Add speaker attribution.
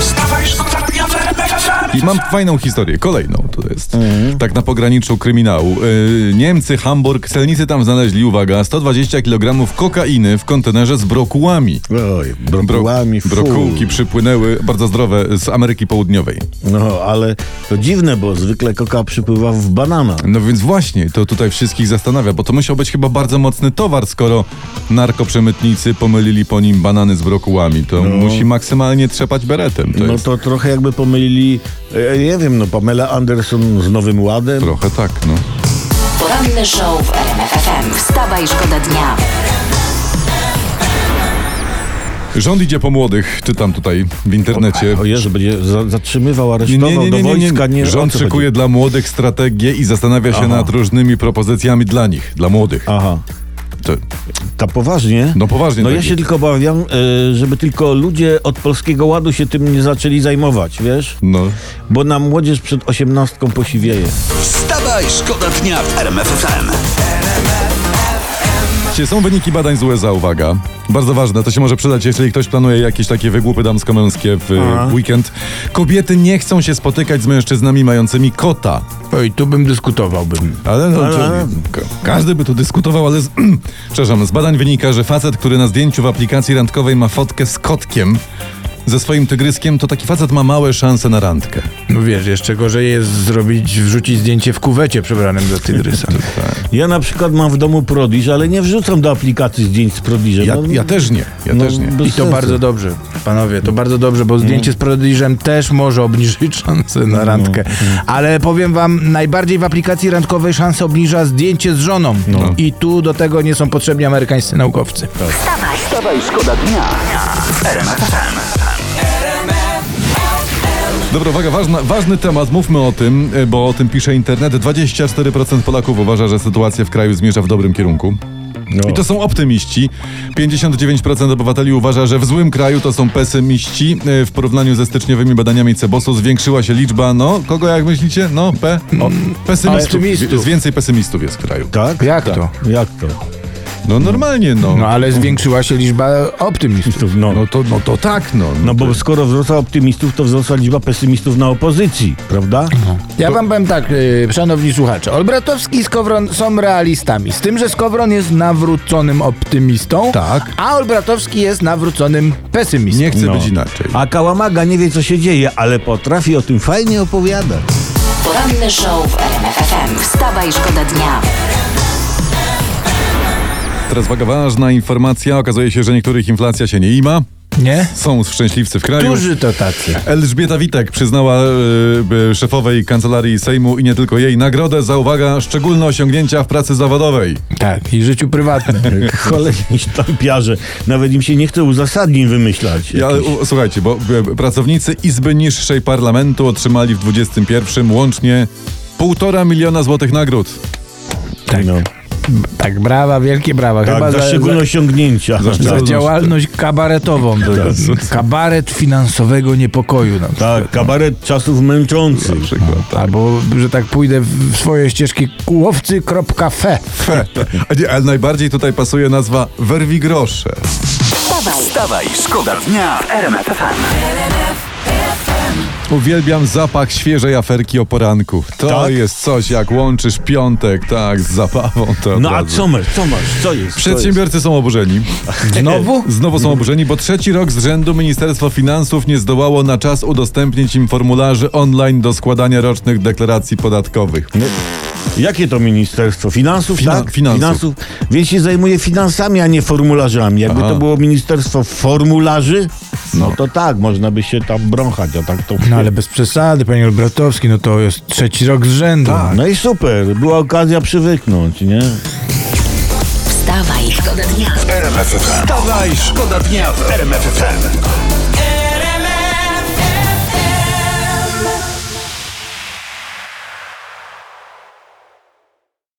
Speaker 1: Wstawaj, szkoda dnia w RMFFM.
Speaker 2: I mam fajną historię, kolejną to jest. Tak na pograniczu kryminału. Yy, Niemcy, Hamburg, celnicy tam znaleźli, uwaga, 120 kg kokainy w kontenerze z brokułami.
Speaker 3: Oj,
Speaker 2: Bro-
Speaker 3: brokułami, fu.
Speaker 2: brokułki przypłynęły, bardzo zdrowe, z Ameryki Południowej.
Speaker 3: No, ale to dziwne, bo zwykle koka przypływa w banana.
Speaker 2: No więc właśnie, to tutaj wszystkich zastanawia, bo to musiał być chyba bardzo mocny towar, skoro narkoprzemytnicy pomylili po nim banany z brokułami. To musi maksymalnie trzepać beretem. To
Speaker 3: no
Speaker 2: jest
Speaker 3: to trochę jakby pomylili, e, nie wiem, no Pamela Anderson z Nowym Ładem.
Speaker 2: trochę tak, no.
Speaker 4: Poranny show w RMF FM. Wstawaj, szkoda dnia.
Speaker 2: Rząd idzie po młodych, czytam tutaj w internecie.
Speaker 3: O Jezu, będzie za, zatrzymywał,
Speaker 2: Nie,
Speaker 3: aresztował
Speaker 2: nie, nie, nie,
Speaker 3: do
Speaker 2: nie,
Speaker 3: wojska.
Speaker 2: nie.
Speaker 3: Nie,
Speaker 2: Rząd
Speaker 3: o co chodzi?
Speaker 2: szykuje dla młodych strategię i zastanawia się
Speaker 3: Aha.
Speaker 2: nad różnymi propozycjami dla nich, dla młodych.
Speaker 3: Aha,
Speaker 2: To,
Speaker 3: ta poważnie?
Speaker 2: no poważnie.
Speaker 3: No ja
Speaker 2: tak
Speaker 3: się
Speaker 2: jest.
Speaker 3: tylko obawiam, e, żeby tylko ludzie od Polskiego Ładu się tym nie zaczęli zajmować, wiesz?
Speaker 2: No.
Speaker 3: Bo nam młodzież przed osiemnastką posiwieje.
Speaker 1: Wstawaj, szkoda dnia w RMFFM.
Speaker 2: Słuchajcie, Są wyniki badań z USA, uwaga. Bardzo ważne, to się może przydać, jeśli ktoś planuje jakieś takie wygłupy damsko-męskie w e, weekend. Kobiety nie chcą się spotykać z mężczyznami mającymi kota.
Speaker 5: Oj, tu bym dyskutowałbym.
Speaker 2: Ale no,
Speaker 3: Ale-
Speaker 2: to- ka- każdy by tu dyskutował, ale z, przepraszam, z badań wynika, że facet, który na zdjęciu w aplikacji randkowej ma fotkę z kotkiem ze swoim tygryskiem, to taki facet ma małe szanse na randkę.
Speaker 5: No wiesz, jeszcze gorzej jest zrobić, wrzucić zdjęcie w kuwecie przebranym do tygrysa.
Speaker 2: tak.
Speaker 3: Ja na przykład mam w domu prodiż, ale nie wrzucam do aplikacji zdjęć z prodiżem.
Speaker 2: Ja,
Speaker 3: no,
Speaker 2: ja też nie, ja
Speaker 3: no,
Speaker 2: też nie.
Speaker 3: bez
Speaker 5: I to
Speaker 3: sensu.
Speaker 5: bardzo dobrze, panowie, to bardzo dobrze, bo zdjęcie z prodiżem też może obniżyć szanse
Speaker 2: No,
Speaker 5: na randkę. Ale powiem wam, najbardziej w aplikacji randkowej szanse obniża zdjęcie z żoną.
Speaker 2: No.
Speaker 5: I tu do tego nie są potrzebni amerykańscy naukowcy.
Speaker 2: Tak,
Speaker 1: Wstawaj, szkoda dnia w RMFFM.
Speaker 2: Dobra, uwaga, ważna, ważny temat, mówmy o tym, y, bo o tym pisze internet. 24% Polaków uważa, że sytuacja w kraju zmierza w dobrym kierunku. I to są optymiści. 59% obywateli uważa, że w złym kraju to są pesymiści. Y, W porównaniu ze styczniowymi badaniami Cebosu zwiększyła się liczba, no, kogo jak myślicie? No, pe, o, pesymistów.
Speaker 5: optymistów.
Speaker 2: Jest więcej pesymistów jest w kraju.
Speaker 3: Tak?
Speaker 5: Jak
Speaker 3: tak.
Speaker 5: to?
Speaker 3: Jak to?
Speaker 2: No normalnie, no.
Speaker 5: No ale zwiększyła się liczba optymistów.
Speaker 3: Optymistów, no.
Speaker 2: No to, no to tak, no.
Speaker 3: No bo skoro wzrosła optymistów, to wzrosła liczba pesymistów na opozycji, prawda? No.
Speaker 5: Ja wam powiem tak, yy, szanowni słuchacze. Olbratowski i Skowron są realistami. Z tym, że Skowron jest nawróconym optymistą,
Speaker 2: Tak.
Speaker 5: a Olbratowski jest nawróconym pesymistą.
Speaker 2: Nie chcę
Speaker 3: No.
Speaker 2: być inaczej.
Speaker 3: A Kałamaga nie wie, co się dzieje, ale potrafi o tym fajnie opowiadać.
Speaker 4: Poranny show w RMF FM. Wstawaj, szkoda dnia.
Speaker 2: Teraz uwaga, ważna informacja. Okazuje się, że niektórych inflacja się nie ima.
Speaker 5: Nie?
Speaker 2: Są szczęśliwcy w kraju.
Speaker 5: Duży to tacy.
Speaker 2: Elżbieta Witek przyznała y, y, szefowej kancelarii Sejmu i nie tylko jej nagrodę za uwaga szczególne osiągnięcia w pracy zawodowej.
Speaker 5: Tak, i życiu prywatnym.
Speaker 3: Cholerni sztampiarze. Nawet im się nie chce uzasadnień wymyślać.
Speaker 2: Ja,
Speaker 3: Jakiś-
Speaker 2: u, słuchajcie, bo y, pracownicy Izby Niższej Parlamentu otrzymali w 21 łącznie półtora miliona złotych nagród
Speaker 5: tak.
Speaker 3: No.
Speaker 5: tak, brawa, wielkie brawa. Chyba
Speaker 3: Tak, za szczególne osiągnięcia.
Speaker 5: za Tak,
Speaker 3: Tak,
Speaker 5: działalność kabaretową. To jest kabaret finansowego niepokoju. No, Na przykład.
Speaker 3: tak, kabaret czasów męczących.
Speaker 2: przykład.
Speaker 5: Albo, że tak pójdę w swoje ścieżki kułowcy.fe.
Speaker 2: Fe. A nie, Ale najbardziej tutaj pasuje nazwa Werwi Grosze.
Speaker 4: Wstawaj,
Speaker 1: Wstawaj, szkoda dnia w RMFFM.
Speaker 2: Uwielbiam zapach świeżej aferki o poranku. To
Speaker 3: Tak?
Speaker 2: jest coś, jak łączysz piątek, tak, z zabawą. To od
Speaker 3: No a
Speaker 2: razu.
Speaker 3: co masz? Co masz? Co jest? Co jest?
Speaker 2: Przedsiębiorcy są oburzeni.
Speaker 5: Znowu?
Speaker 2: Znowu są oburzeni, bo trzeci rok z rzędu Ministerstwo Finansów nie zdołało na czas udostępnić im formularzy online do składania rocznych deklaracji podatkowych.
Speaker 3: Jakie to ministerstwo? Finansów,
Speaker 2: Fina-
Speaker 3: tak?
Speaker 2: finansów.
Speaker 3: Więc się zajmuje finansami, a nie formularzami. Jakby
Speaker 2: Aha.
Speaker 3: to było ministerstwo formularzy, no to tak, można by się tam brąchać, a tak to...
Speaker 5: No ale bez przesady, panie Olbratowski, no to jest trzeci rok z rzędu.
Speaker 3: No i super, była okazja przywyknąć, nie?
Speaker 4: wstawaj, szkoda dnia.
Speaker 1: Wstawaj, szkoda dnia w RMFFM.